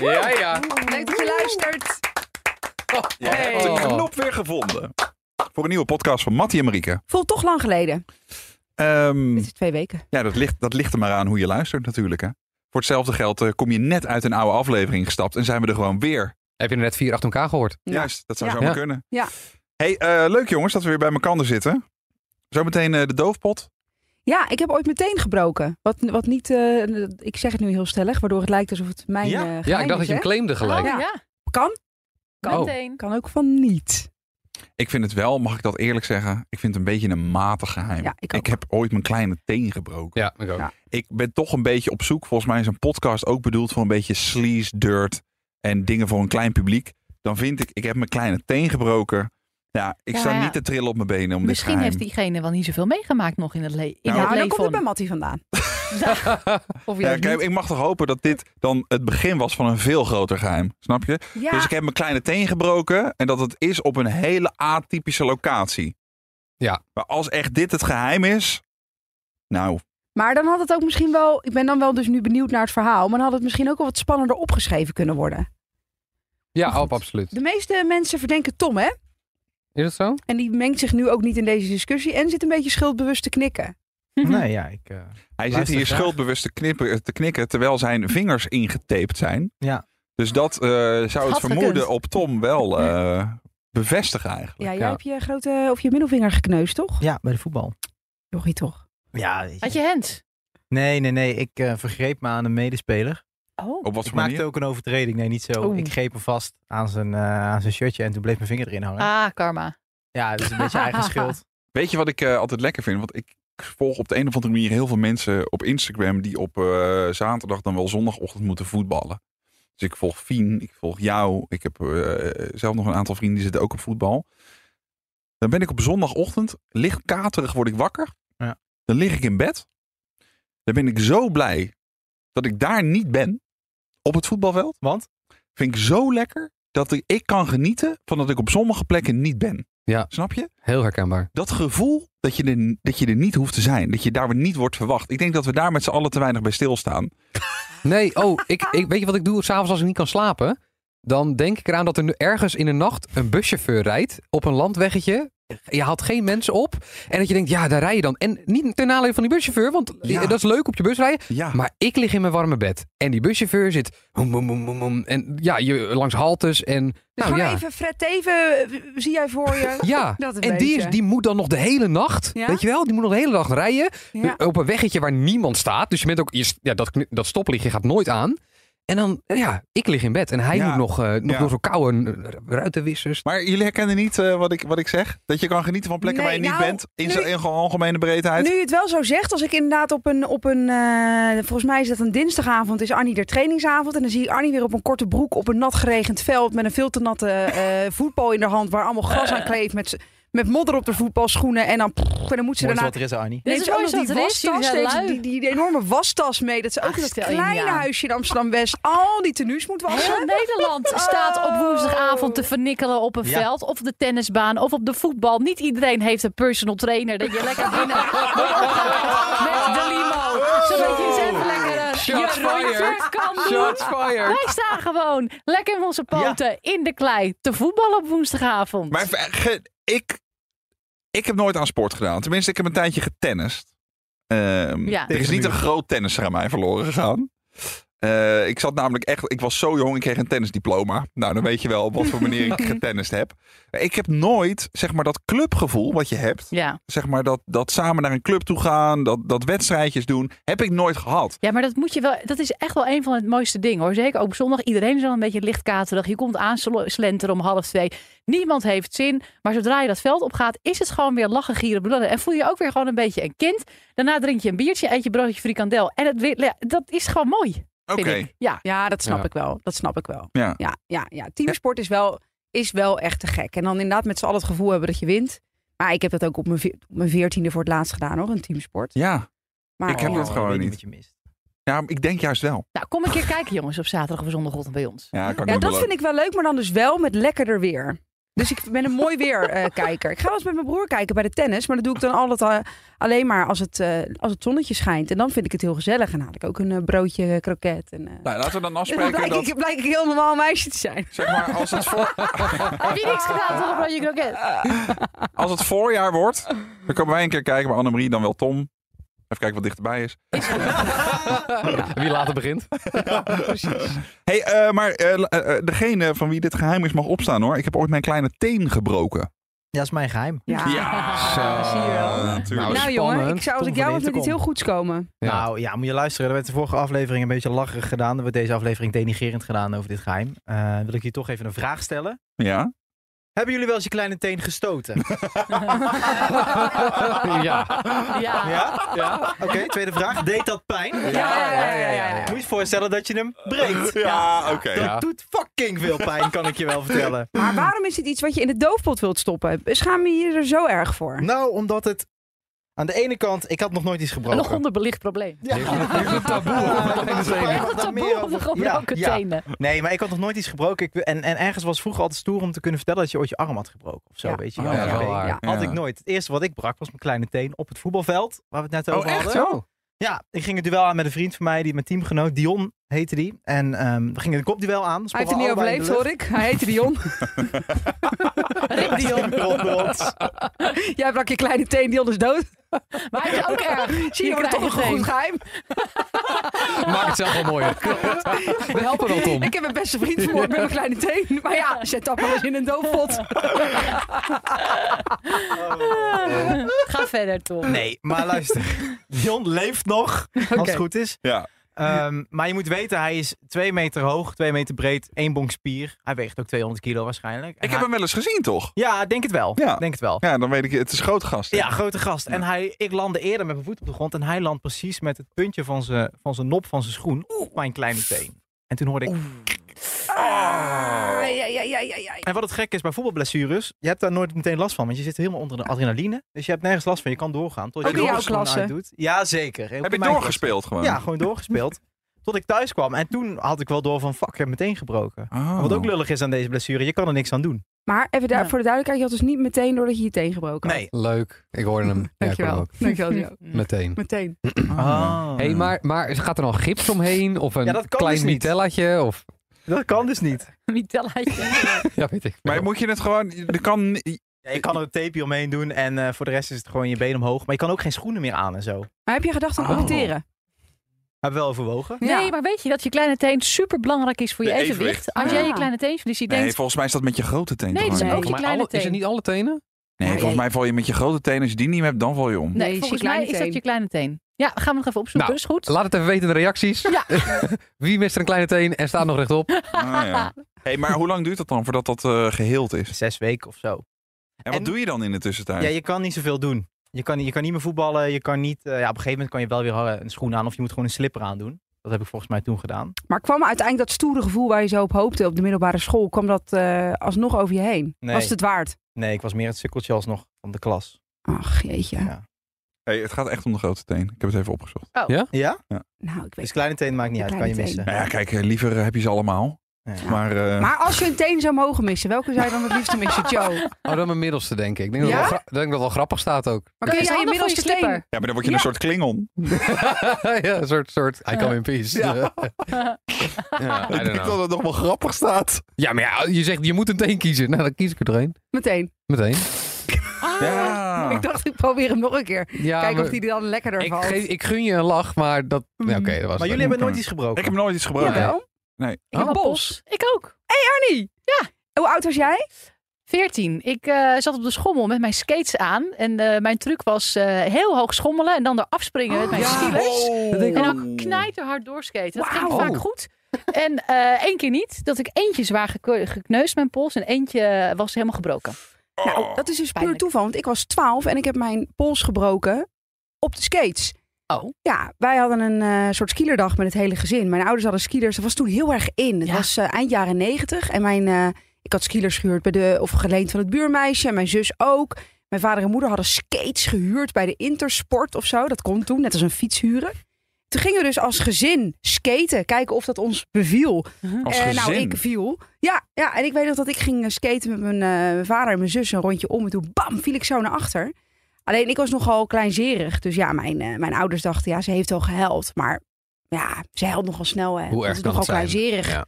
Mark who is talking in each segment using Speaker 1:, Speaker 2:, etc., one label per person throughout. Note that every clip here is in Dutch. Speaker 1: Ja, ja.
Speaker 2: Leuk dat je luistert.
Speaker 3: Je hebt de
Speaker 1: Oh.
Speaker 3: knop weer gevonden. Voor een nieuwe podcast van Mattie en Marieke.
Speaker 2: Voelt toch lang geleden.
Speaker 3: Ehm,
Speaker 2: Dit is twee weken.
Speaker 3: ja, dat ligt, dat ligt er maar aan hoe je luistert natuurlijk. Hè. Voor hetzelfde geld eh, kom je net uit een oude aflevering gestapt en zijn we er gewoon weer.
Speaker 1: Heb je er net vier achter elkaar gehoord?
Speaker 2: Ja.
Speaker 3: Juist, dat zou
Speaker 2: Ja.
Speaker 3: zomaar
Speaker 1: Ja.
Speaker 3: kunnen.
Speaker 2: Ja.
Speaker 3: Hey, eh, leuk jongens dat we weer bij elkaar zitten. Zometeen eh, de doofpot.
Speaker 2: Ja, ik heb ooit meteen gebroken. Wat, wat niet, eh, ik zeg het nu heel stellig, waardoor het lijkt alsof het mijn
Speaker 3: Ja?
Speaker 2: eh,
Speaker 1: Ja,
Speaker 2: geheim
Speaker 1: ik dacht dat
Speaker 2: is,
Speaker 1: je hem
Speaker 2: hè?
Speaker 1: claimde gelijk.
Speaker 4: Oh, ja.
Speaker 2: Kan,
Speaker 1: Oh.
Speaker 4: Meteen.
Speaker 2: kan ook van niet.
Speaker 3: Ik vind het wel, mag ik dat eerlijk zeggen, ik vind het een beetje een matig geheim.
Speaker 2: Ja, ik ook.
Speaker 3: ik heb ooit mijn kleine teen gebroken.
Speaker 1: Ja, ik ook.
Speaker 2: Ja.
Speaker 3: ik ben toch een beetje op zoek. Volgens mij is een podcast ook bedoeld voor een beetje sleaze, dirt en dingen voor een klein publiek. Dan vind ik, ik heb mijn kleine teen gebroken. Ja, ik
Speaker 4: Ja,
Speaker 3: sta
Speaker 4: ja.
Speaker 3: niet te trillen op mijn benen om
Speaker 4: Misschien
Speaker 3: dit
Speaker 4: heeft
Speaker 3: geheim.
Speaker 4: diegene wel niet zoveel meegemaakt nog in het, le- in
Speaker 3: Nou,
Speaker 2: Ja,
Speaker 4: het
Speaker 2: daar
Speaker 4: leven.
Speaker 2: komt het bij Mattie vandaan.
Speaker 4: Of
Speaker 3: Ja,
Speaker 4: juist
Speaker 3: kijk,
Speaker 4: niet.
Speaker 3: ik mag toch hopen dat dit dan het begin was van een veel groter geheim. Snap je?
Speaker 2: Ja,
Speaker 3: Dus ik heb mijn kleine teen gebroken en dat het is op een hele atypische locatie.
Speaker 1: Ja.
Speaker 3: Maar als echt dit het geheim is. Nou,
Speaker 2: maar dan had het ook misschien wel... Ik ben dan wel dus nu benieuwd naar het verhaal. Maar dan had het misschien ook wel wat spannender opgeschreven kunnen worden.
Speaker 1: Ja, op, absoluut.
Speaker 2: De meeste mensen verdenken Tom, hè?
Speaker 1: Is dat zo?
Speaker 2: En die mengt zich nu ook niet in deze discussie. En zit een beetje schuldbewust te knikken.
Speaker 5: Nee, ja, ik... eh,
Speaker 3: hij zit
Speaker 5: Luister
Speaker 3: hier
Speaker 5: graag.
Speaker 3: schuldbewust te, knippen, te knikken terwijl zijn vingers ingetaped zijn.
Speaker 5: ja.
Speaker 3: Dus dat eh, zou het
Speaker 4: had
Speaker 3: vermoeden
Speaker 4: gekund.
Speaker 3: op Tom wel eh, bevestigen eigenlijk.
Speaker 2: Ja, jij
Speaker 1: Ja.
Speaker 2: hebt je grote... Of je middelvinger gekneusd, toch?
Speaker 5: ja, bij de voetbal.
Speaker 2: Jochie, toch?
Speaker 5: Ja, weet je.
Speaker 4: Had je hands?
Speaker 5: Nee, nee, nee. Ik eh, vergreep me aan een medespeler.
Speaker 4: Oh.
Speaker 3: Op wat
Speaker 5: Ik
Speaker 3: voor manier?
Speaker 5: maakte ook een overtreding. Nee, niet zo.
Speaker 4: Oeh.
Speaker 5: Ik greep hem vast aan zijn, eh, aan zijn shirtje en toen bleef mijn vinger erin hangen.
Speaker 4: Ah, karma.
Speaker 5: Ja, dat is een beetje eigen schuld.
Speaker 3: Weet je wat ik eh, altijd lekker vind? Want ik volg op de een of andere manier heel veel mensen op Instagram die op eh, zaterdag dan wel zondagochtend moeten voetballen. Dus ik volg Fien, ik volg jou. Ik heb eh, zelf nog een aantal vrienden die zitten ook op voetbal. Dan ben ik op zondagochtend, licht katerig word ik wakker.
Speaker 5: Ja.
Speaker 3: Dan lig ik in bed. Dan ben ik zo blij dat ik daar niet ben op het voetbalveld.
Speaker 5: Want?
Speaker 3: vind ik zo lekker dat ik, ik kan genieten van dat ik op sommige plekken niet ben.
Speaker 1: Ja.
Speaker 3: Snap je?
Speaker 1: Heel herkenbaar.
Speaker 3: Dat gevoel dat je, er, dat je er niet hoeft te zijn. Dat je daar niet wordt verwacht. Ik denk dat we daar met z'n allen te weinig bij stilstaan.
Speaker 1: Nee, oh, ik, ik, weet je wat ik doe? S'avonds als ik niet kan slapen, dan denk ik eraan dat er nu ergens in de nacht een buschauffeur rijdt op een landweggetje. Je haalt geen mensen op. En dat je denkt, ja, daar rij je dan. En niet ten nadele van die buschauffeur, want
Speaker 3: Ja.
Speaker 1: dat is leuk op je bus rijden.
Speaker 3: Ja.
Speaker 1: Maar ik lig in mijn warme bed. En die buschauffeur zit. hoem, hoem, hoem, hoem, hoem. en ja, je, langs haltes. En,
Speaker 2: Dus
Speaker 1: nou,
Speaker 2: gewoon
Speaker 1: ja.
Speaker 2: even Fred Teven, eh, zie jij voor je?
Speaker 1: Ja,
Speaker 2: Dat een
Speaker 1: en die, is,
Speaker 2: beetje.
Speaker 1: die moet dan nog de hele nacht,
Speaker 2: Ja?
Speaker 1: weet je wel, die moet nog de hele dag rijden.
Speaker 2: Ja.
Speaker 1: Op een weggetje waar niemand staat. Dus je bent ook, je, ja, dat, kni- dat stoplichtje gaat nooit aan. En dan, ja, ik lig in bed en hij
Speaker 3: Ja.
Speaker 1: moet nog, eh, nog
Speaker 3: Ja.
Speaker 1: door zo'n koude eh, ruitenwissers.
Speaker 3: Maar jullie herkennen niet eh, wat, ik, wat ik zeg? Dat je kan genieten van plekken
Speaker 2: Nee,
Speaker 3: waar je niet
Speaker 2: nou,
Speaker 3: bent. In
Speaker 2: nu-
Speaker 3: zijn in gewoon algemene breedheid.
Speaker 2: Nu je het wel zo zegt, als ik inderdaad op een, op een eh, volgens mij is dat een dinsdagavond, is Annie er trainingsavond. En dan zie ik Annie weer op een korte broek op een nat geregend veld met een veel te natte eh, voetbal in de hand waar allemaal gras aan kleeft met, z- met modder op de voetbalschoenen. En dan, en dan moet ze
Speaker 5: Mooi is
Speaker 2: daarna
Speaker 5: wat er is, Arnie.
Speaker 4: Dit
Speaker 2: Nee,
Speaker 4: is
Speaker 2: ze ook nog
Speaker 4: mooi
Speaker 2: die
Speaker 4: zo, het is. Jullie
Speaker 2: wastas,
Speaker 4: zijn
Speaker 2: deze-
Speaker 4: lui.
Speaker 2: die, die, die enorme wastas mee. Dat ze ook
Speaker 4: Ach,
Speaker 2: in dat
Speaker 4: stel je
Speaker 2: kleine
Speaker 4: niet aan.
Speaker 2: huisje in Amsterdam-West al die tenues moet wassen.
Speaker 4: Heel Nederland staat op woensdagavond te vernikkelen op een
Speaker 5: Ja.
Speaker 4: veld. Of de tennisbaan of op de voetbal. Niet iedereen heeft een personal trainer. Dat je lekker binnen met de limo. Zodat je eens even lekker eh,
Speaker 1: Shots
Speaker 4: je rondje
Speaker 1: fired.
Speaker 4: kan doen.
Speaker 1: Shots fired.
Speaker 4: Wij staan gewoon lekker in onze poten in de klei te voetballen op woensdagavond.
Speaker 3: Maar ge- ik, ik heb nooit aan sport gedaan. Tenminste, ik heb een tijdje getennist. Ehm,
Speaker 4: Ja.
Speaker 3: Er is niet een groot tennisser aan mij verloren gegaan. Eh, ik zat namelijk echt, ik was zo jong, ik kreeg een tennisdiploma. Nou, dan weet je wel op wat voor manier ik getennist heb. Ik heb nooit, zeg maar, dat clubgevoel wat je hebt.
Speaker 4: ja.
Speaker 3: Zeg maar dat, dat samen naar een club toe gaan, dat, dat wedstrijdjes doen, heb ik nooit gehad.
Speaker 4: ja, maar dat moet je wel. Dat is echt wel een van het mooiste dingen hoor. Zeker ook op zondag. Iedereen is al een beetje lichtkaterig. Je komt aan slenteren om half twee. Niemand heeft zin. Maar zodra je dat veld opgaat, is het gewoon weer lachen, gieren, brullen. En voel je je ook weer gewoon een beetje een kind. Daarna drink je een biertje, eet je broodje frikandel. En het, weer- ja, dat is gewoon mooi.
Speaker 3: Oké.
Speaker 4: vind ik. Ja.
Speaker 2: Ja, dat snap
Speaker 1: Ja.
Speaker 2: ik wel. Dat snap ik wel.
Speaker 3: Ja.
Speaker 2: ja, ja, ja. Teamsport is wel, is wel echt te gek. En dan inderdaad met z'n allen het gevoel hebben dat je wint. Maar ik heb dat ook op mijn, veer- op mijn veertiende voor het laatst gedaan hoor, een teamsport.
Speaker 3: Ja.
Speaker 2: Maar
Speaker 3: Ik heb dat gewoon
Speaker 5: Oh, weet
Speaker 3: niet.
Speaker 5: wat je mist.
Speaker 3: ja, ik denk juist wel.
Speaker 4: Nou, kom een keer kijken, jongens, op zaterdag of zondagochtend bij ons.
Speaker 3: Ja, kan ik
Speaker 2: ja,
Speaker 3: me
Speaker 2: dat
Speaker 3: beloven.
Speaker 2: vind ik wel leuk, maar dan dus wel met lekkerder weer. Dus ik ben een mooi weer eh, kijker. Ik ga wel eens met mijn broer kijken bij de tennis. Maar dat doe ik dan altijd eh, alleen maar als het, eh, als het zonnetje schijnt. En dan vind ik het heel gezellig. En dan haal ik ook een eh, broodje eh, kroket. En, eh,
Speaker 3: Nou, laten
Speaker 2: dus
Speaker 3: we dan
Speaker 2: dan
Speaker 3: afspreken
Speaker 2: blijk,
Speaker 3: dat,
Speaker 2: ik, blijk ik heel normaal meisje te zijn.
Speaker 3: zeg maar, als het, voor,
Speaker 4: Heb je niks gedaan toch, Broodje Kroket?
Speaker 3: als het voorjaar wordt, dan komen wij een keer kijken bij Annemarie, dan wel Tom. Even kijken wat dichterbij is.
Speaker 1: Wie later begint.
Speaker 3: hey, eh, maar eh, la- eh, eh, degene van wie dit geheim is mag opstaan hoor. Ik heb ooit mijn kleine teen gebroken.
Speaker 5: Dat is mijn geheim.
Speaker 2: Ja,
Speaker 1: Zo.
Speaker 2: zie je wel.
Speaker 3: natuurlijk.
Speaker 1: Nou,
Speaker 2: Nou jongen,
Speaker 1: spannend.
Speaker 2: ik zou als
Speaker 5: Tom
Speaker 2: ik jou
Speaker 5: van
Speaker 2: was met iets
Speaker 5: Intercom.
Speaker 2: heel goeds komen.
Speaker 1: Ja.
Speaker 5: Nou ja, moet je luisteren. Er werd de vorige aflevering een beetje lacherig gedaan. Er werd deze aflevering denigerend gedaan over dit geheim. Eh, wil ik hier toch even een vraag stellen.
Speaker 3: Ja.
Speaker 5: Hebben jullie wel eens je kleine teen gestoten?
Speaker 1: ja.
Speaker 4: Ja.
Speaker 5: ja? Ja. Oké, tweede vraag. Deed dat pijn?
Speaker 2: ja, ja, ja, ja, ja.
Speaker 5: Moet je je voorstellen dat je hem breekt.
Speaker 3: Ja, oké.
Speaker 5: Dat doet fucking veel pijn, kan ik je wel vertellen.
Speaker 2: Maar waarom is dit iets wat je in de doofpot wilt stoppen? Schaam je je er zo erg voor?
Speaker 5: Nou, omdat het... Aan de ene kant, ik had nog nooit iets
Speaker 4: Een nog
Speaker 5: gebroken.
Speaker 4: onderbelicht probleem.
Speaker 5: Ja.
Speaker 1: een taboe op de kleine tenen.
Speaker 5: Ik
Speaker 4: Echt
Speaker 5: had
Speaker 4: een
Speaker 5: daar meer
Speaker 4: taboe op de
Speaker 5: over-
Speaker 4: gebroken
Speaker 5: Ja, ja.
Speaker 4: tenen.
Speaker 5: Nee, maar ik had nog nooit iets gebroken. Ik, en, en ergens was vroeger altijd stoer om te kunnen vertellen dat je ooit je arm had gebroken. Of zo,
Speaker 2: Ja.
Speaker 5: weet je.
Speaker 1: Oh,
Speaker 5: wel.
Speaker 1: ja,
Speaker 5: Of
Speaker 1: wel
Speaker 5: je been.
Speaker 1: waar.
Speaker 2: Ja.
Speaker 5: Had ik
Speaker 3: Ja.
Speaker 5: nooit. Het eerste wat ik brak was mijn kleine teen op het voetbalveld. Waar we het net
Speaker 3: Oh,
Speaker 5: over
Speaker 3: echt,
Speaker 5: hadden.
Speaker 1: Zo.
Speaker 5: Ja, ik ging een duel aan met een vriend van mij, die, mijn teamgenoot, Dion heette die. En ehm, we gingen een kopduel aan.
Speaker 2: Hij heeft het niet overleefd, hoor ik. Hij heette Dion.
Speaker 5: Rick Dion.
Speaker 2: Jij brak je kleine teen, Dion is dood.
Speaker 4: Maar hij is ook erg.
Speaker 2: Zie je, wordt toch nog een goed geheim.
Speaker 1: Maak het zelf wel mooier. We helpen wel, Tom.
Speaker 2: Ik heb mijn beste vriend vermoord met mijn kleine teen. Maar ja, zet dat maar eens in een doofpot.
Speaker 3: Oh.
Speaker 4: Ga verder, Tom.
Speaker 5: Nee, maar luister. Dion leeft nog, als
Speaker 2: Oké.
Speaker 5: het goed is.
Speaker 3: Ja.
Speaker 5: Ehm, maar je moet weten, hij is twee meter hoog, twee meter breed, één bonk spier. Hij weegt ook 200 kilo waarschijnlijk. En
Speaker 3: Ik heb
Speaker 5: hij-
Speaker 3: hem wel eens gezien, toch?
Speaker 5: Ja, denk het wel.
Speaker 3: Ja.
Speaker 5: Denk het wel.
Speaker 3: Ja, dan weet ik, het is groot gast.
Speaker 5: Ja, grote gast. En hij, ik landde eerder met mijn voet op de grond. En hij landt precies met het puntje van zijn, van zijn nop van zijn schoen op mijn kleine teen. En toen hoorde ik... Ah.
Speaker 2: Ja, ja, ja, ja, ja.
Speaker 5: En wat het gek is bij voetbalblessures, je hebt daar nooit meteen last van. Want je zit helemaal onder de adrenaline. Dus je hebt nergens last van. Je kan doorgaan. Tot
Speaker 2: Ook
Speaker 5: je
Speaker 2: in
Speaker 5: je
Speaker 2: jouw
Speaker 5: voetbalschoenen
Speaker 2: klasse?
Speaker 5: uitdoet. Ja, zeker.
Speaker 3: Heb je doorgespeeld gewoon?
Speaker 5: Ja, gewoon doorgespeeld. Tot ik thuis kwam. En toen had ik wel door van, fuck, ik heb meteen gebroken.
Speaker 3: Oh.
Speaker 5: Wat ook lullig is aan deze blessure, je kan er niks aan doen.
Speaker 2: Maar even daar,
Speaker 4: Ja.
Speaker 2: voor de duidelijkheid, je had dus niet meteen doordat je je teen gebroken had.
Speaker 5: Nee.
Speaker 1: Leuk. Ik hoorde hem. Ja, ik hoorde hem
Speaker 2: Dankjewel.
Speaker 1: ook.
Speaker 2: Dankjewel, Jo.
Speaker 4: Mm.
Speaker 1: Meteen.
Speaker 2: Meteen.
Speaker 3: Ah.
Speaker 5: Ah.
Speaker 1: Hey, maar, maar gaat er dan gips omheen? Of een
Speaker 5: Ja, dat kan
Speaker 1: klein
Speaker 5: dus niet.
Speaker 1: mitelletje? Of...
Speaker 5: Dat kan dus niet.
Speaker 4: Mitellaatje.
Speaker 1: Ja, weet ik.
Speaker 3: Maar moet je het gewoon... Er kan,
Speaker 5: Ja, je kan er een tapeje omheen doen en eh, voor de rest is het gewoon je been omhoog. Maar je kan ook geen schoenen meer aan en zo.
Speaker 2: Maar heb je gedacht aan
Speaker 1: Oh.
Speaker 2: opteren?
Speaker 5: Hebben we wel overwogen.
Speaker 4: Nee, maar weet je dat je kleine teen super belangrijk is voor je
Speaker 3: De
Speaker 4: evenwicht?
Speaker 3: evenwicht.
Speaker 4: Als jij je
Speaker 2: Ah.
Speaker 4: kleine teen verliest, je
Speaker 3: Nee,
Speaker 4: denkt...
Speaker 3: volgens mij is dat met je grote teen.
Speaker 4: Nee,
Speaker 3: toch
Speaker 4: dat is
Speaker 3: maar?
Speaker 4: ook- je
Speaker 1: Maar
Speaker 4: kleine
Speaker 1: alle- is het
Speaker 4: teen.
Speaker 1: niet alle tenen?
Speaker 3: Nee, volgens mij val je met je grote teen. Als je die niet meer hebt, dan val je om.
Speaker 4: Nee,
Speaker 2: Nee, is je
Speaker 4: volgens mij is
Speaker 2: kleine
Speaker 4: dat
Speaker 2: teen.
Speaker 4: je kleine teen. Ja, gaan we nog even opzoeken.
Speaker 1: Nou,
Speaker 4: dat is goed.
Speaker 1: Laat het even weten in de reacties.
Speaker 4: Ja.
Speaker 1: Wie mist er een kleine teen en staat nog rechtop?
Speaker 3: Ah, ja. hey, maar hoe lang duurt dat dan voordat dat eh, geheeld is?
Speaker 5: Zes weken of zo.
Speaker 3: En wat
Speaker 5: En-
Speaker 3: doe je dan in de tussentijd?
Speaker 5: Ja, je kan niet zoveel doen. Je kan, je kan niet meer voetballen. Je kan niet, eh, ja, op een gegeven moment kan je wel weer eh, een schoen aan of je moet gewoon een slipper aandoen. Dat heb ik volgens mij toen gedaan.
Speaker 2: Maar kwam uiteindelijk dat stoere gevoel waar je zo op hoopte op de middelbare school, kwam dat eh, alsnog over je heen?
Speaker 5: Nee.
Speaker 2: Was het het waard?
Speaker 5: Nee, ik was meer het sukkeltje alsnog van de klas.
Speaker 2: Ach, jeetje.
Speaker 5: Ja.
Speaker 3: Hey, het gaat echt om de grote teen. Ik heb het even opgezocht.
Speaker 4: Oh.
Speaker 5: Ja?
Speaker 2: Nou, ik weet
Speaker 5: Dus kleine teen maakt niet
Speaker 2: De
Speaker 5: uit, kan
Speaker 2: kleine
Speaker 5: je missen.
Speaker 3: Nou ja, kijk, eh, liever eh, heb je ze allemaal.
Speaker 5: Nee.
Speaker 3: Maar, eh,
Speaker 2: Maar als je een teen zou mogen missen, welke zou je dan het liefste missen, Joe?
Speaker 1: Oh, dan mijn middelste, denk ik. Ik denk,
Speaker 2: Ja?
Speaker 1: dat, wel gra- ik denk dat wel grappig staat ook.
Speaker 4: Dat
Speaker 2: Maar kun
Speaker 4: is
Speaker 2: je aan je
Speaker 4: handig voor je
Speaker 2: middelste teen?
Speaker 4: slipper.
Speaker 3: ja, maar dan word je
Speaker 2: Ja.
Speaker 3: een soort klingon.
Speaker 1: ja, een soort, soort I come in peace. Ja, ja I
Speaker 3: Ik
Speaker 1: don't
Speaker 3: denk dat
Speaker 1: know.
Speaker 3: het nog wel grappig staat.
Speaker 1: Ja, maar ja, je zegt, je moet een teen kiezen. Nou, dan kies ik er doorheen.
Speaker 2: Meteen.
Speaker 1: Meteen.
Speaker 3: Ja.
Speaker 2: Ah. Ik dacht, ik probeer hem nog een keer.
Speaker 1: Ja,
Speaker 2: Kijken of
Speaker 1: maar
Speaker 2: die er dan lekkerder
Speaker 1: ik,
Speaker 2: valt.
Speaker 1: geef- ik gun je een lach, maar dat... Ja, Oké, dat was
Speaker 5: Maar
Speaker 1: het.
Speaker 5: jullie hebben nooit
Speaker 3: Ja.
Speaker 5: iets gebroken.
Speaker 3: Ik heb nooit iets gebroken.
Speaker 1: Ja.
Speaker 2: Jawel.
Speaker 3: Nee.
Speaker 2: Ik heb
Speaker 1: Oh.
Speaker 2: een bos.
Speaker 4: Ik ook.
Speaker 2: Arnie!
Speaker 4: Ja.
Speaker 2: Hoe oud was jij?
Speaker 4: 14. Ik eh, zat op de schommel met mijn skates aan. En eh, mijn truc was eh, heel hoog schommelen en dan eraf springen met mijn
Speaker 2: Oh. Ja.
Speaker 4: stielers.
Speaker 3: Oh.
Speaker 1: Dat denk ik
Speaker 4: En
Speaker 1: ook.
Speaker 4: dan knijterhard doorskaten. Dat ging
Speaker 2: Wauw.
Speaker 4: vaak goed. En eh, één keer niet. Dat ik eentje zwaar geke- gekneusd mijn pols. En eentje eh, was helemaal gebroken.
Speaker 3: Oh.
Speaker 2: Nou, dat is dus puur
Speaker 4: Pijnlijk.
Speaker 2: toeval, want ik was 12 en ik heb mijn pols gebroken op de skates.
Speaker 4: Oh.
Speaker 2: Ja, wij hadden een eh, soort skielerdag met het hele gezin. Mijn ouders hadden skielers. Dat was toen heel erg in. Het
Speaker 4: Ja.
Speaker 2: was eh, eind jaren negentig. En mijn, eh, ik had skielers gehuurd bij de, of geleend van het buurmeisje. En mijn zus ook. Mijn vader en moeder hadden skates gehuurd bij de Intersport of zo. Dat kon toen, net als een fiets huren. Toen gingen we dus als gezin skaten, kijken of dat ons beviel.
Speaker 3: Als
Speaker 2: Eh, nou,
Speaker 3: gezin.
Speaker 2: ik viel. Ja, ja, en ik weet nog dat ik ging eh, skaten met mijn, eh, mijn vader en mijn zus een rondje om. En toen bam, viel ik zo naar achter. Alleen ik was nogal kleinzerig. Dus ja, mijn, eh, mijn ouders dachten, ja, ze heeft wel gehuild. Maar ja, ze huilt nogal snel. Hè.
Speaker 1: Hoe
Speaker 2: Dat
Speaker 1: erg
Speaker 2: is
Speaker 1: kan
Speaker 2: nogal
Speaker 1: het zijn?
Speaker 2: kleinzerig.
Speaker 1: Ja.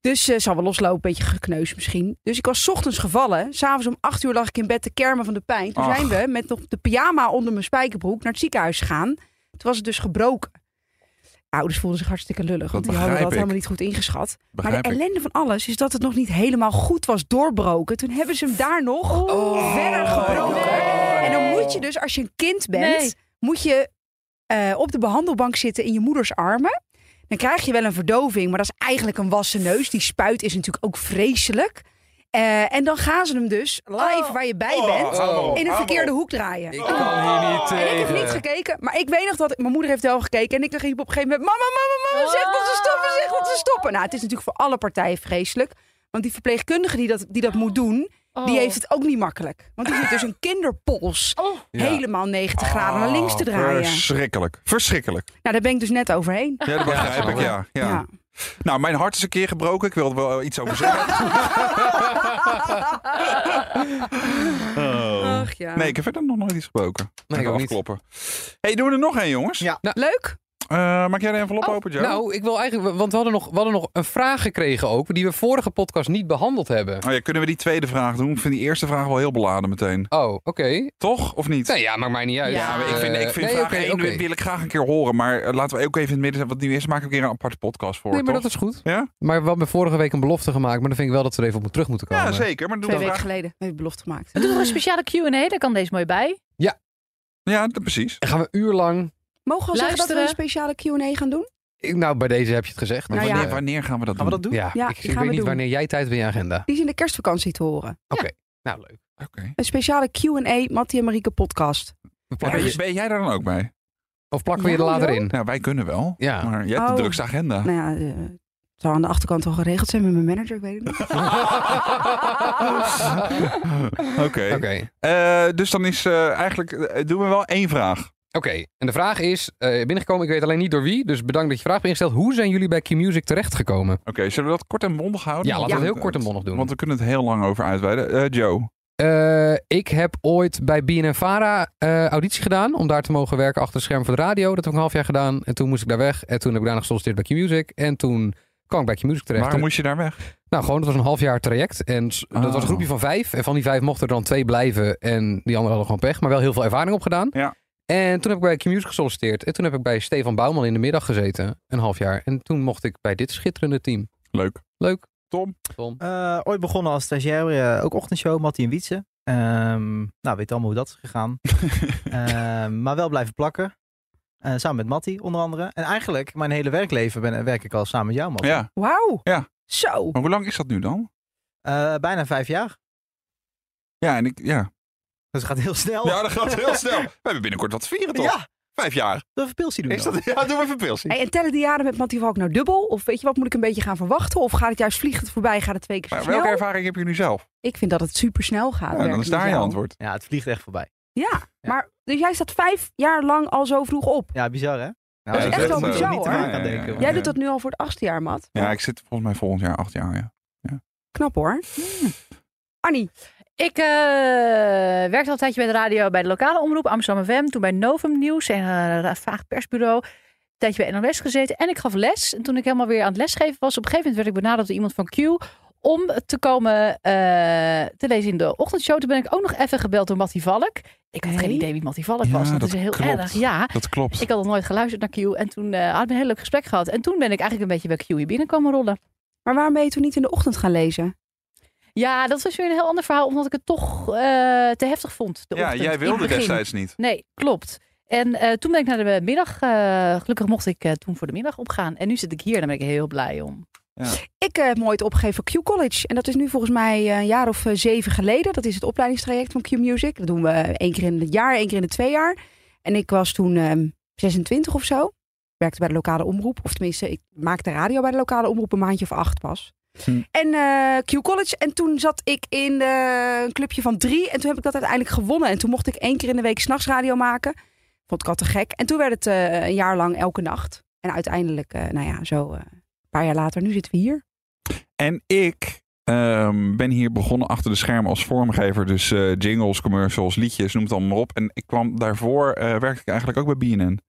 Speaker 2: Dus ze zal wel loslopen, een beetje gekneus misschien. Dus ik was 's ochtends gevallen. S'avonds om acht uur lag ik in bed te kermen van de pijn. Toen
Speaker 3: Ach.
Speaker 2: zijn we met nog de pyjama onder mijn spijkerbroek naar het ziekenhuis gegaan. Toen was het dus gebroken. De ouders voelden zich hartstikke lullig, want die hadden
Speaker 3: begrijp
Speaker 2: dat
Speaker 3: ik.
Speaker 2: helemaal niet goed ingeschat. Maar
Speaker 3: Begrijp
Speaker 2: de
Speaker 3: ik.
Speaker 2: ellende van alles is dat het nog niet helemaal goed was doorbroken. Toen hebben ze hem daar nog verder gebroken. En dan moet je dus, als je een kind bent,
Speaker 4: Nee.
Speaker 2: moet je eh, op de behandelbank zitten in je moeders armen. Dan krijg je wel een verdoving, maar dat is eigenlijk een wassen neus. Die spuit is natuurlijk ook vreselijk. Eh, en dan gaan ze hem dus live
Speaker 4: Oh.
Speaker 2: waar je bij
Speaker 3: Oh,
Speaker 2: bent
Speaker 3: hou op,
Speaker 2: in een
Speaker 3: hou
Speaker 2: verkeerde
Speaker 3: op.
Speaker 2: hoek draaien.
Speaker 1: Ik kan hier
Speaker 5: Oh.
Speaker 1: niet
Speaker 2: En ik heb
Speaker 3: eh,
Speaker 2: niet gekeken, maar ik weet nog dat ik- mijn moeder heeft wel gekeken. En ik riep op een gegeven moment: Mama, mama, mama, zeg dat ze stoppen, zeg dat
Speaker 3: Oh.
Speaker 2: ze stoppen. Nou, het is natuurlijk voor alle partijen vreselijk. Want die verpleegkundige die dat, die dat moet doen,
Speaker 3: Oh.
Speaker 2: die heeft het ook niet makkelijk. Want die zit dus een kinderpols
Speaker 4: Oh.
Speaker 3: Ja.
Speaker 2: helemaal 90 graden naar links te
Speaker 3: Ah,
Speaker 2: draaien.
Speaker 3: Verschrikkelijk. Verschrikkelijk.
Speaker 2: Nou, daar ben ik dus net overheen.
Speaker 3: Ja, dat begrijp ik, ja. ja.
Speaker 2: Ja.
Speaker 3: Nou, mijn hart is een keer gebroken. Ik wil er wel iets over zeggen.
Speaker 2: Ach ja.
Speaker 3: Oh. Nee, ik heb verder nog nooit iets gebroken.
Speaker 1: Nee, ik
Speaker 3: Even
Speaker 1: ook niet.
Speaker 3: afkloppen. hey, doen we er nog één, jongens?
Speaker 5: Ja.
Speaker 2: Nou, Leuk? Oh,
Speaker 3: Eh, maak jij de envelop open, Joe?
Speaker 1: Nou, ik wil eigenlijk, want we hadden, nog, we hadden nog een vraag gekregen ook, die we vorige podcast niet behandeld hebben.
Speaker 3: Oh ja, kunnen we die tweede vraag doen? Ik vind die eerste vraag wel heel beladen meteen.
Speaker 1: Oh, oké.
Speaker 3: Toch? Of niet?
Speaker 1: Nou ja, maakt mij niet uit.
Speaker 4: Ja,
Speaker 3: Maar ik vind, ik vind
Speaker 1: Eh, nee,
Speaker 3: vraag
Speaker 1: oké,
Speaker 3: één
Speaker 1: oké.
Speaker 3: wil ik graag een keer horen. Maar eh, laten we ook even in het midden zijn. Wat nu is, maak ik weer een aparte podcast voor.
Speaker 1: Nee, maar
Speaker 3: toch?
Speaker 1: dat is goed.
Speaker 3: Ja?
Speaker 1: Maar we hadden vorige week een belofte gemaakt, maar dan vind ik wel dat we er even op terug moeten komen.
Speaker 3: Ja, zeker. Maar doe
Speaker 2: eh, Twee
Speaker 3: dat
Speaker 2: weken
Speaker 3: graag.
Speaker 2: geleden heb ik belofte gemaakt.
Speaker 4: We doen
Speaker 3: Ah.
Speaker 4: nog een speciale Q&A, daar kan deze mooi bij.
Speaker 3: Ja, dat- precies.
Speaker 1: Dan gaan we een uur lang...
Speaker 2: Mogen we al zeggen dat we
Speaker 4: Luisteren.
Speaker 2: een speciale QA gaan doen?
Speaker 1: Ik- Nou, bij deze heb je het gezegd.
Speaker 3: Maar
Speaker 2: Nou ja.
Speaker 3: wanneer, wanneer gaan we dat
Speaker 5: Gaan
Speaker 3: doen?
Speaker 5: we dat doen?
Speaker 1: Ja,
Speaker 2: Ja,
Speaker 1: ik,
Speaker 2: die
Speaker 1: ik
Speaker 2: gaan
Speaker 1: weet
Speaker 2: we
Speaker 1: niet
Speaker 2: doen.
Speaker 1: wanneer jij tijd hebt in je agenda.
Speaker 2: Die is in de kerstvakantie te horen.
Speaker 1: Nou, leuk.
Speaker 3: Oké.
Speaker 2: Een speciale QA Mattie en Marieke podcast.
Speaker 1: We
Speaker 3: Ja,
Speaker 1: plakken
Speaker 3: dus ben, je- ben jij daar dan ook bij?
Speaker 1: Of plakken we je
Speaker 2: Ja,
Speaker 1: er later
Speaker 2: joh.
Speaker 1: in?
Speaker 3: Nou, wij kunnen wel.
Speaker 1: Ja.
Speaker 3: Maar jij hebt
Speaker 2: Oh.
Speaker 3: de drukste agenda.
Speaker 2: Nou ja, eh, het zou aan de achterkant al geregeld zijn met mijn manager, ik weet het niet.
Speaker 3: Oké.
Speaker 1: Oké.
Speaker 3: Eh, dus dan is eh, eigenlijk, eh, doen we wel één vraag.
Speaker 1: Oké, en de vraag is, eh, binnengekomen, ik weet alleen niet door wie, dus bedankt dat je vraag hebt ingesteld. Hoe zijn jullie bij Q-Music terechtgekomen?
Speaker 3: Oké, zullen we dat kort en bondig houden?
Speaker 1: Ja, laten we het heel kort en bondig doen.
Speaker 3: Want we kunnen het heel lang over uitweiden. Eh, Joe,
Speaker 1: Eh, ik heb ooit bij BNNVARA eh auditie gedaan om daar te mogen werken achter het scherm voor de radio. Dat heb ik een half jaar gedaan en toen moest ik daar weg. En toen heb ik daarna gesolliciteerd bij Q-Music en toen kwam ik bij Q-Music terecht.
Speaker 3: waarom moest je daar weg?
Speaker 1: Nou, gewoon, dat was een half jaar traject. En s- dat
Speaker 3: Ah.
Speaker 1: was een groepje van vijf. En van die vijf mochten er dan twee blijven. En die anderen hadden gewoon pech. Maar wel heel veel ervaring opgedaan.
Speaker 3: Ja.
Speaker 1: En toen heb ik bij Q-Music gesolliciteerd. En toen heb ik bij Stefan Bouwman in de middag gezeten. Een half jaar. En toen mocht ik bij dit schitterende team.
Speaker 3: Leuk.
Speaker 1: Leuk.
Speaker 3: Tom?
Speaker 1: Tom.
Speaker 5: Eh, ooit begonnen als stagiair, eh, ook ochtendshow, Mattie en Wietse. Ehm, nou, weet allemaal hoe dat is gegaan. Ehm, maar wel blijven plakken. Eh, samen met Mattie, onder andere. En eigenlijk, mijn hele werkleven ben, eh, werk ik al samen met jou, Mattie.
Speaker 3: ja,
Speaker 2: Wauw.
Speaker 3: Ja.
Speaker 2: Zo.
Speaker 3: maar hoe lang is dat nu dan?
Speaker 5: Eh, bijna vijf jaar.
Speaker 3: Ja, en ik, ja.
Speaker 5: Dus het gaat heel snel.
Speaker 3: Oh. ja, dat gaat heel snel. We hebben binnenkort wat te vieren, toch?
Speaker 5: Ja,
Speaker 3: Vijf jaar.
Speaker 5: we even pilsie doen.
Speaker 3: Is
Speaker 5: dan.
Speaker 3: dat, ja, doe even pilsie.
Speaker 2: Hey, en tellen die jaren met Mattie Valk nou dubbel? Of weet je wat, moet ik een beetje gaan verwachten? Of gaat het juist vliegend voorbij, gaat het twee keer zo
Speaker 3: Maar
Speaker 2: snel?
Speaker 3: welke ervaring heb je nu zelf?
Speaker 2: Ik vind dat het super snel gaat.
Speaker 3: Ja,
Speaker 2: werken
Speaker 3: dan is
Speaker 2: met
Speaker 3: daar je
Speaker 2: jou.
Speaker 3: antwoord.
Speaker 5: Ja, het vliegt echt voorbij.
Speaker 2: Ja, maar dus jij staat vijf jaar lang al zo vroeg op.
Speaker 5: Ja, bizar hè? Nou,
Speaker 3: dat is
Speaker 5: ik
Speaker 3: echt
Speaker 5: weet
Speaker 3: wel
Speaker 5: het
Speaker 2: bizar,
Speaker 5: niet te
Speaker 2: hoor.
Speaker 5: vaak aan
Speaker 3: Ja, ja,
Speaker 5: denken.
Speaker 3: ja.
Speaker 2: Jij doet dat nu al voor het achtste jaar, Mat.
Speaker 3: Ja, ik zit volgens mij volgend jaar acht jaar, ja.
Speaker 2: Knap hoor.
Speaker 3: Hmm.
Speaker 2: Annie,
Speaker 4: Ik eh, werkte al een tijdje bij de radio bij de lokale omroep Amsterdam FM. Toen bij Novum Nieuws en eh Vaag Persbureau. Een tijdje bij NOS gezeten. En ik gaf les. En toen ik helemaal weer aan het lesgeven was, op een gegeven moment werd ik benaderd door iemand van Q. Om te komen eh, te lezen in de ochtendshow. Toen ben ik ook nog even gebeld door Mattie Valk. Ik had
Speaker 2: Hey.
Speaker 4: geen idee wie Mattie Valk
Speaker 3: Ja,
Speaker 4: was. Dat,
Speaker 3: dat
Speaker 4: is heel
Speaker 3: klopt.
Speaker 4: erg. Ja.
Speaker 3: Dat klopt.
Speaker 4: Ik had nog nooit geluisterd naar Q. En toen eh hadden we een heel leuk gesprek gehad. En toen ben ik eigenlijk een beetje bij Q hier binnenkomen rollen.
Speaker 2: maar waarom ben je toen niet in de ochtend gaan lezen?
Speaker 4: Ja, dat was weer een heel ander verhaal. Omdat ik het toch eh, te heftig vond. de
Speaker 3: ja,
Speaker 4: ochtend,
Speaker 3: jij
Speaker 4: in
Speaker 3: wilde
Speaker 4: het begin.
Speaker 3: destijds niet.
Speaker 4: Nee, klopt. En eh, toen ben ik naar de middag. eh, gelukkig mocht ik eh, toen voor de middag opgaan. En nu zit ik hier. Daar ben ik heel blij om.
Speaker 2: Ik eh, heb me ooit opgegeven voor Q College. En dat is nu volgens mij eh, een jaar of eh, zeven geleden. Dat is het opleidingstraject van Q Music. Dat doen we één keer in het jaar, één keer in de twee jaar. En ik was toen ehm, 26 of zo. Ik werkte bij de lokale omroep. Of tenminste, ik maakte radio bij de lokale omroep een maandje of acht pas.
Speaker 3: Hm.
Speaker 2: En eh, Q College. En toen zat ik in eh, een clubje van drie. En toen heb ik dat uiteindelijk gewonnen. En toen mocht ik één keer in de week s'nachts radio maken. Vond ik al te gek. En toen werd het eh, een jaar lang elke nacht. En uiteindelijk, eh, nou ja, zo eh, een paar jaar later, nu zitten we hier.
Speaker 3: En ik ehm, ben hier begonnen achter de schermen als vormgever. Dus eh, jingles, commercials, liedjes, noem het allemaal maar op. En ik kwam daarvoor, eh, werkte ik eigenlijk ook bij BNN.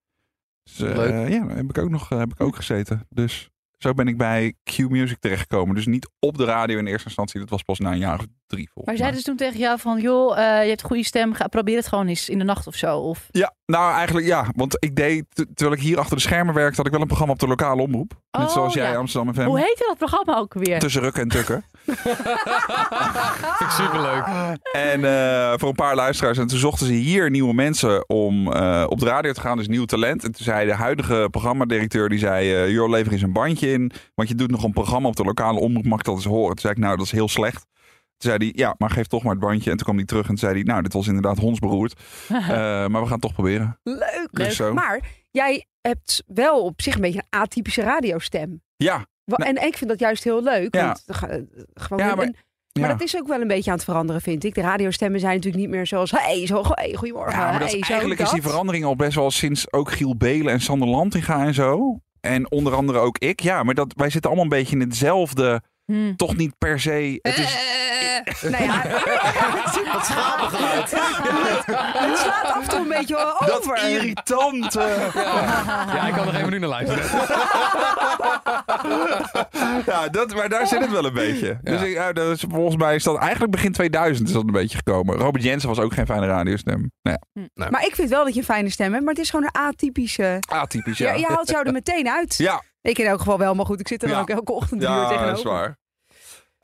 Speaker 3: Dus, eh,
Speaker 1: Leuk.
Speaker 3: Ja, daar heb ik ook nog eh, heb ik ook gezeten. Dus zo ben ik bij Q Music terechtgekomen. Dus niet op de radio in eerste instantie. Dat was pas na een jaar of drie volgens
Speaker 4: Maar
Speaker 3: mij.
Speaker 4: zeiden ze toen tegen jou van, joh, eh, je hebt goede stem, ga, probeer het gewoon eens in de nacht of zo. Of,
Speaker 3: Ja, nou eigenlijk ja. Want ik deed, te- terwijl ik hier achter de schermen werkte, had ik wel een programma op de lokale omroep. Net
Speaker 4: Oh,
Speaker 3: zoals jij,
Speaker 4: ja.
Speaker 3: Amsterdam FM.
Speaker 4: Hoe heette dat programma ook weer?
Speaker 3: Tussen rukken en tukken.
Speaker 1: Vind ik superleuk.
Speaker 3: En eh, voor een paar luisteraars. En toen zochten ze hier nieuwe mensen om eh, op de radio te gaan. Dus nieuw talent. En toen zei de huidige programmadirecteur, die zei... eh joh, lever eens een bandje in. Want je doet nog een programma op de lokale omroep. Mag ik dat eens horen? Toen zei ik, nou, dat is heel slecht. Toen zei hij, ja, maar geef toch maar het bandje. En toen kwam hij terug en toen zei hij, nou, dit was inderdaad hondsberoerd. Eh, maar we gaan het toch proberen.
Speaker 2: Leuk.
Speaker 3: Dus zo.
Speaker 2: Maar jij hebt wel op zich een beetje een atypische radiostem.
Speaker 3: Ja,
Speaker 2: Wa-
Speaker 3: Nou-
Speaker 2: En ik vind dat juist heel leuk.
Speaker 3: Ja.
Speaker 2: Want, eh, ge- gewoon
Speaker 3: Ja,
Speaker 2: een-
Speaker 3: maar-
Speaker 2: een-
Speaker 3: ja.
Speaker 2: maar dat is ook wel een beetje aan het veranderen, vind ik. De radiostemmen zijn natuurlijk niet meer zoals... Hey, zo, hey goedemorgen.
Speaker 3: Ja, maar dat
Speaker 2: hey,
Speaker 3: is,
Speaker 2: zo
Speaker 3: eigenlijk is
Speaker 2: dat.
Speaker 3: die verandering al best wel sinds ook Giel Belen en Sander Lantinga en zo. En onder andere ook ik. Ja, maar dat, wij zitten allemaal een beetje in hetzelfde.
Speaker 4: Hm.
Speaker 3: Toch niet per se. Het is, Eh,
Speaker 2: Nou ja, het
Speaker 5: schapengeluid.
Speaker 2: het slaat af en toe een beetje
Speaker 3: dat
Speaker 2: Eh, over.
Speaker 3: irritant. eh.
Speaker 1: Ja, ik kan nog even nu naar luisteren.
Speaker 3: ja, dat, maar daar zit het wel een beetje. Dus
Speaker 1: Ja.
Speaker 3: ik, ja, dat is, volgens mij is dat eigenlijk begin 2000 is dat een beetje gekomen. Robert Jensen was ook geen fijne radiostem. Nou
Speaker 2: Maar ik vind wel dat je een fijne stem hebt, maar het is gewoon een atypische.
Speaker 3: ja, atypisch,
Speaker 2: Ja.
Speaker 3: ja.
Speaker 2: je haalt jou er meteen uit.
Speaker 3: Ja,
Speaker 2: Ik in elk geval wel, maar goed, ik zit er dan
Speaker 3: Ja.
Speaker 2: ook elke ochtend een uur
Speaker 3: ja,
Speaker 2: tegenover.
Speaker 3: dat is waar.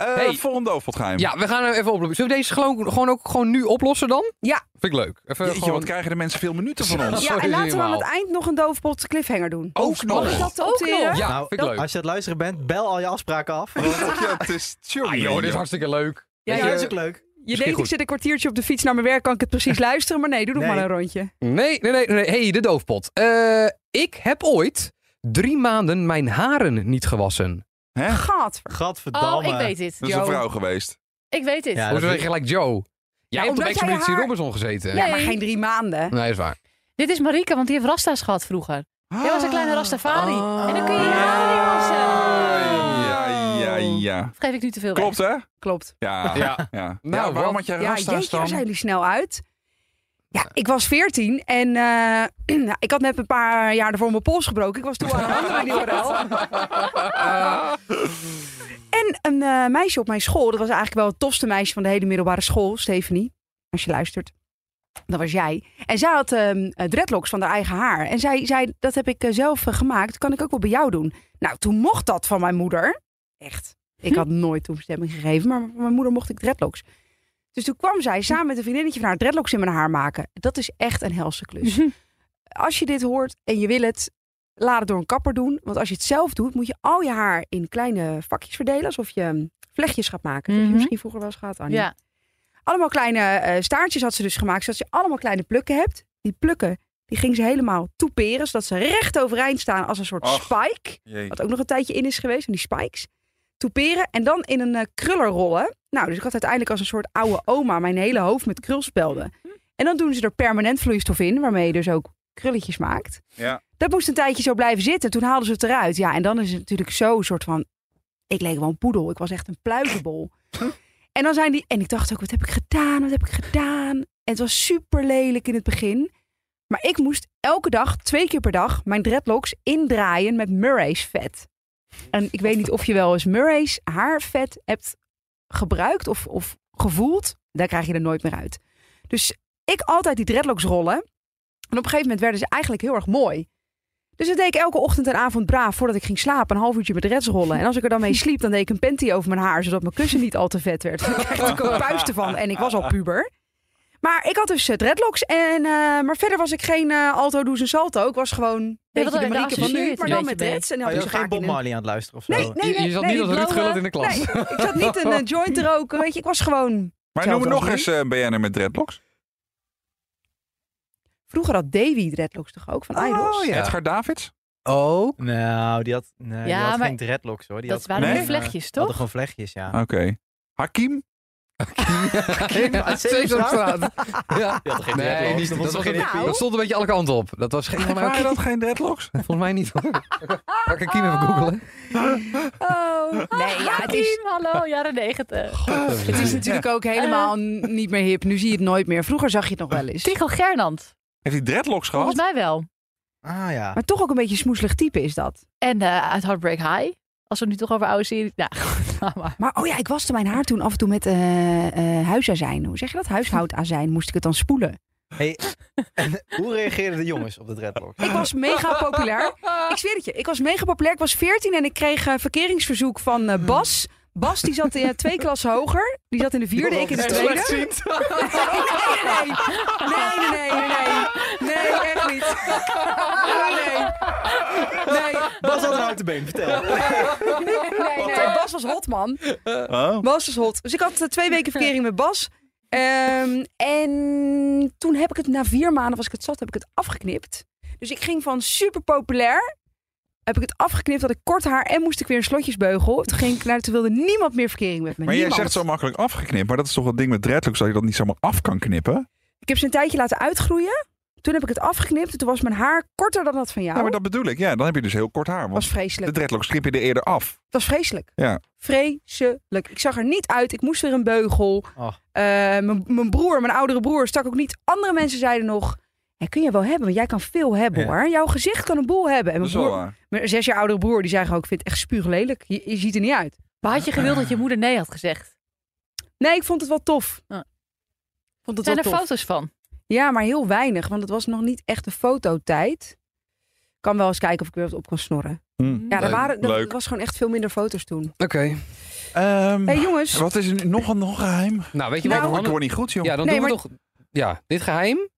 Speaker 3: Eh,
Speaker 1: Hey.
Speaker 3: Volgende doofpotgeheim.
Speaker 1: Ja, we gaan hem even oplossen. Zullen we deze gewoon, gewoon ook gewoon nu oplossen dan?
Speaker 2: Ja.
Speaker 1: Vind ik leuk. Even
Speaker 3: Jeetje,
Speaker 1: gewoon...
Speaker 3: wat krijgen de mensen veel minuten van ons?
Speaker 1: Sorry,
Speaker 2: Ja, en laten we aan
Speaker 1: helemaal.
Speaker 2: het eind nog een doofpot cliffhanger doen.
Speaker 3: Ook nog.
Speaker 2: Mag ik dat
Speaker 4: Ook
Speaker 2: opteren?
Speaker 4: nog?
Speaker 1: Ja,
Speaker 5: Nou,
Speaker 1: vind ik leuk.
Speaker 5: Als je aan het luisteren bent, bel al je afspraken af. Want-
Speaker 3: Ja, het is
Speaker 1: Ah joh, dit is hartstikke leuk.
Speaker 4: Ja,
Speaker 1: Weet
Speaker 5: ja,
Speaker 1: je-
Speaker 5: dat is ook leuk.
Speaker 2: Je denkt,
Speaker 1: goed.
Speaker 2: ik zit een kwartiertje op de fiets naar mijn werk, kan ik het precies luisteren? Maar nee, doe nog
Speaker 5: Nee.
Speaker 2: maar een rondje.
Speaker 1: Nee, nee, nee. nee. hey, de doofpot. Eh, ik heb ooit drie maanden mijn haren niet gewassen.
Speaker 3: Hè?
Speaker 2: Gadver.
Speaker 5: Gadverdamme.
Speaker 4: Oh, ik weet dit.
Speaker 3: Dat is een
Speaker 4: Joe.
Speaker 3: vrouw geweest.
Speaker 4: Ik weet dit.
Speaker 5: Ja, dat
Speaker 1: Hoezo zeg
Speaker 5: weet-
Speaker 1: je gelijk Joe? Jij hebt op
Speaker 2: omdat jij
Speaker 1: Expeditie
Speaker 2: haar-
Speaker 1: Robinson gezeten.
Speaker 2: Ja,
Speaker 4: Nee.
Speaker 2: maar geen drie maanden.
Speaker 1: Nee, is waar.
Speaker 4: Dit is Marika, want die heeft rasta's gehad vroeger. Jij was een kleine rastafari.
Speaker 1: Ah.
Speaker 4: En dan kun je je haren niet wassen.
Speaker 3: Ja, ja, ja.
Speaker 4: Of geef ik nu te veel weg?
Speaker 3: Klopt, hè?
Speaker 2: Klopt.
Speaker 3: Ja.
Speaker 1: Ja.
Speaker 3: ja.
Speaker 1: Nou,
Speaker 3: Ja,
Speaker 1: wat-
Speaker 3: waarom had jij
Speaker 2: Ja,
Speaker 3: rasta's
Speaker 2: jeetje,
Speaker 3: dan?
Speaker 2: waar zijn jullie snel uit? Ja, ik was 14 en eh, nou, ik had net een paar jaar ervoor mijn pols gebroken. Ik was toen aan een andere nieuwrel. en een eh, meisje op mijn school, dat was eigenlijk wel het tofste meisje van de hele middelbare school, Stephanie, als je luistert. Dat was jij. En zij had ehm, eh, dreadlocks van haar eigen haar. En zij zei, dat heb ik eh, zelf eh, gemaakt, kan ik ook wel bij jou doen. Nou, toen mocht dat van mijn moeder. Echt. Ik had nooit toestemming gegeven, maar van mijn moeder mocht ik dreadlocks. Dus toen kwam zij samen met een vriendinnetje van haar dreadlocks in mijn haar maken. Dat is echt een helse klus. Als je dit hoort en je wil het, laat het door een kapper doen. Want als je het zelf doet, moet je al je haar in kleine vakjes verdelen. Alsof je mm, vlechtjes gaat maken. Dat heb je
Speaker 4: Mhm.
Speaker 2: misschien vroeger wel eens gehad, Annie.
Speaker 4: Ja.
Speaker 2: Allemaal kleine eh, staartjes had ze dus gemaakt. Zodat je allemaal kleine plukken hebt. Die plukken, die ging ze helemaal toeperen. Zodat ze recht overeind staan als een soort
Speaker 3: Ach.
Speaker 2: spike.
Speaker 3: Jeetje.
Speaker 2: Wat ook nog een tijdje in is geweest, van die spikes. Toeperen en dan in een eh, kruller rollen. Nou, dus ik had uiteindelijk als een soort oude oma mijn hele hoofd met krulspelden. En dan doen ze er permanent vloeistof in, waarmee je dus ook krulletjes maakt.
Speaker 3: Ja.
Speaker 2: Dat moest een tijdje zo blijven zitten. Toen haalden ze het eruit. Ja, en dan is het natuurlijk zo'n soort van... Ik leek wel een poedel. Ik was echt een pluizenbol. en dan zijn die... En ik dacht ook, wat heb ik gedaan? Wat heb ik gedaan? En het was super lelijk in het begin. Maar ik moest elke dag, twee keer per dag, mijn dreadlocks indraaien met Murray's vet. En ik weet niet of je wel eens Murray's haarvet hebt gebruikt of, of gevoeld. Daar krijg je er nooit meer uit. Dus ik altijd die dreadlocks rollen. En op een gegeven moment werden ze eigenlijk heel erg mooi. Dus dat deed ik elke ochtend en avond braaf voordat ik ging slapen. Een half uurtje met reds rollen. En als ik er dan mee sliep, dan deed ik een panty over mijn haar. Zodat mijn kussen niet al te vet werd. Daar kreeg ik natuurlijk ook puisten van. En ik was al puber. Maar ik had dus eh, dreadlocks. En, eh, maar verder was ik geen eh alto, does en salto. Ik was gewoon een beetje
Speaker 4: dat-
Speaker 2: de
Speaker 4: daar
Speaker 2: Marieke van
Speaker 4: associeer je
Speaker 2: nu.
Speaker 4: het
Speaker 2: Maar
Speaker 4: een
Speaker 2: dan met
Speaker 4: beetje mee.
Speaker 2: dreads. En dan
Speaker 5: Oh, je
Speaker 2: had
Speaker 5: was
Speaker 2: ik vaak
Speaker 5: geen Bob
Speaker 2: in een-
Speaker 5: Marley aan het luisteren of zo?
Speaker 2: Nee, nee,
Speaker 1: Oh, Je-
Speaker 2: nee.
Speaker 1: je zat
Speaker 2: nee,
Speaker 1: niet als Ruud
Speaker 4: blauwe-
Speaker 1: Gullit in de klas.
Speaker 2: Nee, ik zat niet een eh, joint te roken. Weet je, ik was gewoon...
Speaker 3: Maar
Speaker 2: Zelfde
Speaker 3: noem nog
Speaker 2: als
Speaker 3: eens eh, een BN'er met dreadlocks.
Speaker 2: Vroeger had Davy dreadlocks toch ook, van Idols?
Speaker 1: Oh, ja.
Speaker 3: Edgar Davids.
Speaker 1: Oh.
Speaker 5: Nou, die had, nee, die
Speaker 4: Ja,
Speaker 5: had
Speaker 4: maar-
Speaker 5: geen dreadlocks hoor. Die
Speaker 4: Dat
Speaker 5: had
Speaker 4: waren
Speaker 3: Nee?
Speaker 4: de vlechtjes,
Speaker 5: Hadden
Speaker 4: toch?
Speaker 5: gewoon vlechtjes, ja.
Speaker 3: Oké. Hakim.
Speaker 5: Kim uit Sesamstraat.
Speaker 1: Sesamstraat. Ja.
Speaker 5: Ja, toch geen
Speaker 1: Nee,
Speaker 5: dreadlocks?
Speaker 1: niet,
Speaker 5: Dat
Speaker 1: dat,
Speaker 5: was
Speaker 1: was
Speaker 5: toch geen
Speaker 1: een-
Speaker 2: hippie?
Speaker 1: dat stond een beetje alle kanten op. Dat was geen van mij.
Speaker 3: Waren dat geen dreadlocks?
Speaker 1: Volgens mij niet hoor. Ga ik een kiem even googelen.
Speaker 2: Oh. Nee, ja, het is,
Speaker 4: Team, hallo, jaren negentig.
Speaker 2: het is natuurlijk ook helemaal n- niet meer hip. Nu zie je het nooit meer. Vroeger zag je het nog wel eens.
Speaker 4: Tycho Gernand,
Speaker 3: Heeft hij dreadlocks gehad?
Speaker 4: volgens mij wel.
Speaker 5: Ah ja.
Speaker 2: Maar toch ook een beetje een smoeselig type is dat.
Speaker 4: En eh, uit Heartbreak High. Als we het nu toch over oude serie... Nou, goed, laat maar.
Speaker 2: Maar oh ja, ik waste mijn haar toen af en toe met eh, eh, huisazijn. Hoe zeg je dat? Huishoudazijn moest ik het dan spoelen.
Speaker 5: Hey, en hoe reageerden de jongens op de dreadlocks?
Speaker 2: Ik was mega populair. Ik zweer het je. Ik was mega populair. Ik was 14 en ik kreeg eh, verkeringsverzoek van eh, Bas. Bas die zat eh, twee klassen hoger. Die zat in de vierde, ik in de tweede. Nee, nee, nee, nee, nee, nee, nee, echt niet. Oh, nee. Nee,
Speaker 5: Bas had een houten been, vertel.
Speaker 2: nee, nee. Bas was hot, man.
Speaker 3: Oh.
Speaker 2: Bas was hot. Dus ik had eh, twee weken verkering met Bas. Ehm, en toen heb ik het, na vier maanden was ik het zat, heb ik het afgeknipt. Dus ik ging van super populair, heb ik het afgeknipt, had ik kort haar en moest ik weer een slotjesbeugel. Toen, ging ik naar, toen wilde niemand meer verkering met me.
Speaker 3: Maar jij
Speaker 2: niemand.
Speaker 3: zegt zo makkelijk afgeknipt, maar dat is toch het ding met dreadlocks dat je dat niet zomaar af kan knippen?
Speaker 2: Ik heb ze een tijdje laten uitgroeien. Toen heb ik het afgeknipt en toen was mijn haar korter dan dat van jou.
Speaker 3: Ja, maar dat bedoel ik. Ja, dan heb je dus heel kort haar.
Speaker 2: was
Speaker 3: Want
Speaker 2: vreselijk.
Speaker 3: de dreadlocks knip je er eerder af.
Speaker 2: Het was vreselijk.
Speaker 3: Ja.
Speaker 2: Vreselijk. Ik zag er niet uit. Ik moest weer een beugel.
Speaker 4: Ah.
Speaker 5: Och.
Speaker 2: Eh, mijn- mijn broer, mijn oudere broer, stak ook niet. Andere mensen zeiden nog... "Hé, kun je wel hebben, want jij kan veel hebben
Speaker 5: Ja.
Speaker 2: hoor. Jouw gezicht kan een boel hebben. En
Speaker 3: Dat
Speaker 2: mijn,
Speaker 3: is wel
Speaker 2: broer,
Speaker 3: waar.
Speaker 2: mijn zes jaar oudere broer, die zei gewoon... Ik vind het echt spuuglelijk. Je, je ziet er niet uit.
Speaker 4: Maar had je gewild dat je moeder nee had gezegd?
Speaker 2: Nee, ik vond het wel tof.
Speaker 4: Ja.
Speaker 2: Ik Vond het
Speaker 4: Zijn
Speaker 2: wel
Speaker 4: er
Speaker 2: tof.
Speaker 4: foto's van?
Speaker 2: Ja, maar heel weinig, want het was nog niet echt de fototijd. Ik kan wel eens kijken of ik weer wat op kan snorren. Ja, er
Speaker 3: Leuk,
Speaker 2: waren, er
Speaker 3: leuk.
Speaker 2: was gewoon echt veel minder foto's toen.
Speaker 1: Oké.
Speaker 3: Ehm,
Speaker 2: Hé hey, jongens,
Speaker 3: wat is er nog een nog een geheim?
Speaker 1: Nou, weet je
Speaker 2: Nou,
Speaker 1: wat?
Speaker 3: ik
Speaker 1: Hanne?
Speaker 3: hoor niet goed, joh.
Speaker 1: Ja, dan
Speaker 2: Nee,
Speaker 1: doen we toch ja, dit geheim.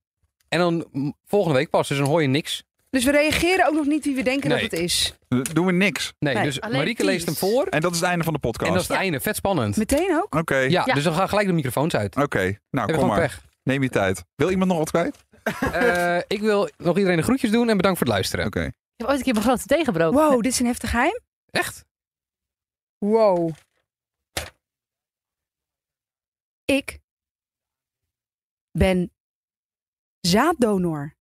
Speaker 1: En dan mm, volgende week pas, dus dan hoor je niks.
Speaker 2: Dus we reageren ook nog niet wie we denken
Speaker 1: Nee.
Speaker 2: dat het is.
Speaker 3: Doen we niks.
Speaker 1: Nee,
Speaker 2: Nee,
Speaker 1: dus
Speaker 4: alleen
Speaker 1: Marieke
Speaker 4: teas.
Speaker 1: leest hem voor.
Speaker 3: En dat is het einde van de
Speaker 1: En dat is
Speaker 3: podcast.
Speaker 1: het einde. Vet spannend.
Speaker 2: Meteen ook?
Speaker 3: Oké,
Speaker 1: Ja,
Speaker 4: Ja.
Speaker 1: dus dan gaan gelijk de microfoons uit.
Speaker 3: oké. Nou,
Speaker 1: Heb je
Speaker 3: kom
Speaker 1: gewoon
Speaker 3: maar.
Speaker 1: pech.
Speaker 3: Neem je tijd. Wil iemand nog wat kwijt?
Speaker 1: Eh, ik wil nog iedereen de groetjes doen en bedankt voor het luisteren.
Speaker 3: Oké.
Speaker 4: Ik heb ooit een keer mijn grote tegenbroken.
Speaker 2: Wow, dit is een heftig geheim.
Speaker 1: Echt?
Speaker 2: Wow. Ik ben zaaddonor.